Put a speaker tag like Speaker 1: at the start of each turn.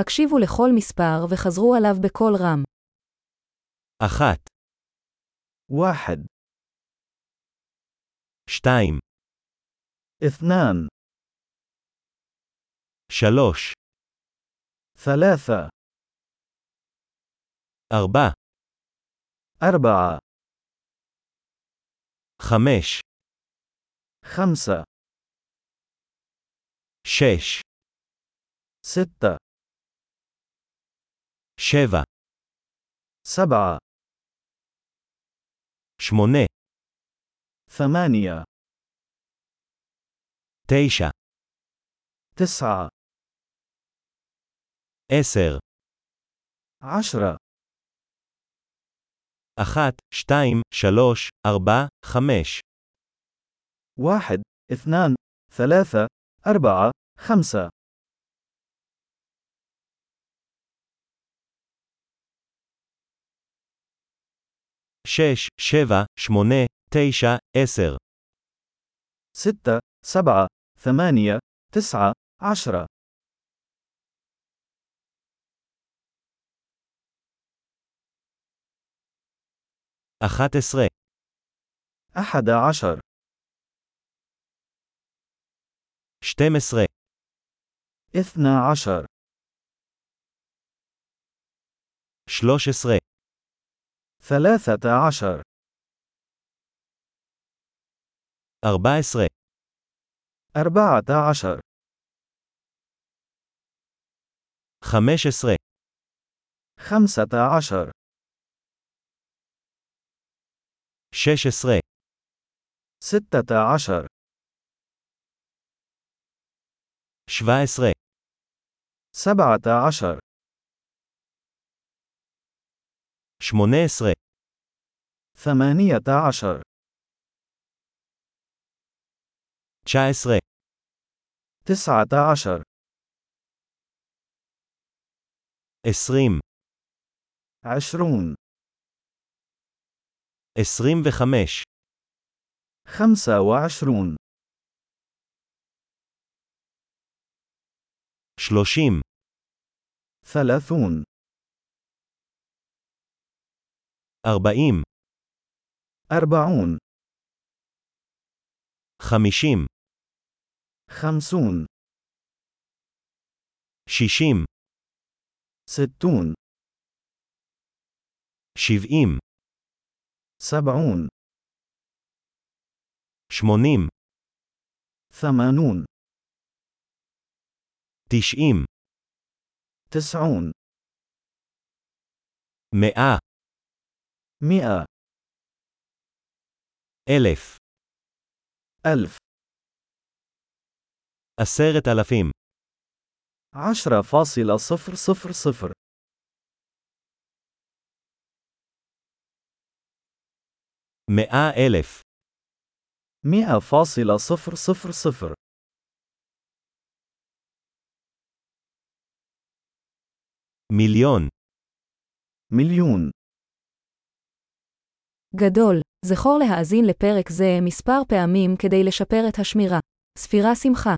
Speaker 1: הקשיבו לכל מספר וחזרו עליו בקול רם.
Speaker 2: אחת,
Speaker 3: واحد
Speaker 2: שתיים,
Speaker 3: اثنان
Speaker 2: שלוש,
Speaker 3: ثلاثة
Speaker 2: ארבע,
Speaker 3: أربعة
Speaker 2: חמש,
Speaker 3: خمسة
Speaker 2: שש,
Speaker 3: ستة
Speaker 2: שבע,
Speaker 3: سبعة
Speaker 2: שמונה,
Speaker 3: ثمانية
Speaker 2: תשע,
Speaker 3: تسعة
Speaker 2: עשר,
Speaker 3: عشرة
Speaker 2: אחת, שתיים, שלוש, ארבע, חמש,
Speaker 3: واحد اثنان ثلاثة أربعة خمسة
Speaker 2: שש, שבע, שמונה, תשע, עשר,
Speaker 3: ستة سبعة ثمانية تسعة عشرة
Speaker 2: אחת עשרה,
Speaker 3: أحد عشر
Speaker 2: שתים עשרה,
Speaker 3: اثنى عشر
Speaker 2: שלוש עשרה,
Speaker 3: ثلاثة عشر
Speaker 2: ארבע עשרה,
Speaker 3: أربعة عشر
Speaker 2: חמש עשרה,
Speaker 3: خمسة عشر
Speaker 2: שש עשרה,
Speaker 3: ستة عشر
Speaker 2: שבע עשרה,
Speaker 3: سبعة عشر
Speaker 2: שמונה עשרה,
Speaker 3: ثمانية عشر
Speaker 2: תשע עשרה,
Speaker 3: تسعة عشر
Speaker 2: עשרים,
Speaker 3: عشرون
Speaker 2: עשרים וחמש,
Speaker 3: خمسة وعشرون
Speaker 2: שלושים,
Speaker 3: ثلاثون
Speaker 2: ארבעים,
Speaker 3: أربعون
Speaker 2: חמישים,
Speaker 3: خمسون
Speaker 2: שישים,
Speaker 3: ستون
Speaker 2: שבעים,
Speaker 3: سبعون
Speaker 2: שמונים,
Speaker 3: ثمانون
Speaker 2: תשעים,
Speaker 3: تسعون
Speaker 2: מאה,
Speaker 3: مئة
Speaker 2: אלף,
Speaker 3: ألف
Speaker 2: עשרת אלפים,
Speaker 3: عشرة فاصلة صفر صفر صفر
Speaker 2: מאה אלף,
Speaker 3: مئة فاصلة صفر صفر صفر
Speaker 2: מיליון,
Speaker 3: مليون
Speaker 1: גדול, זכור להאזין לפרק זה מספר פעמים כדי לשפר את השמירה. ספירה שמחה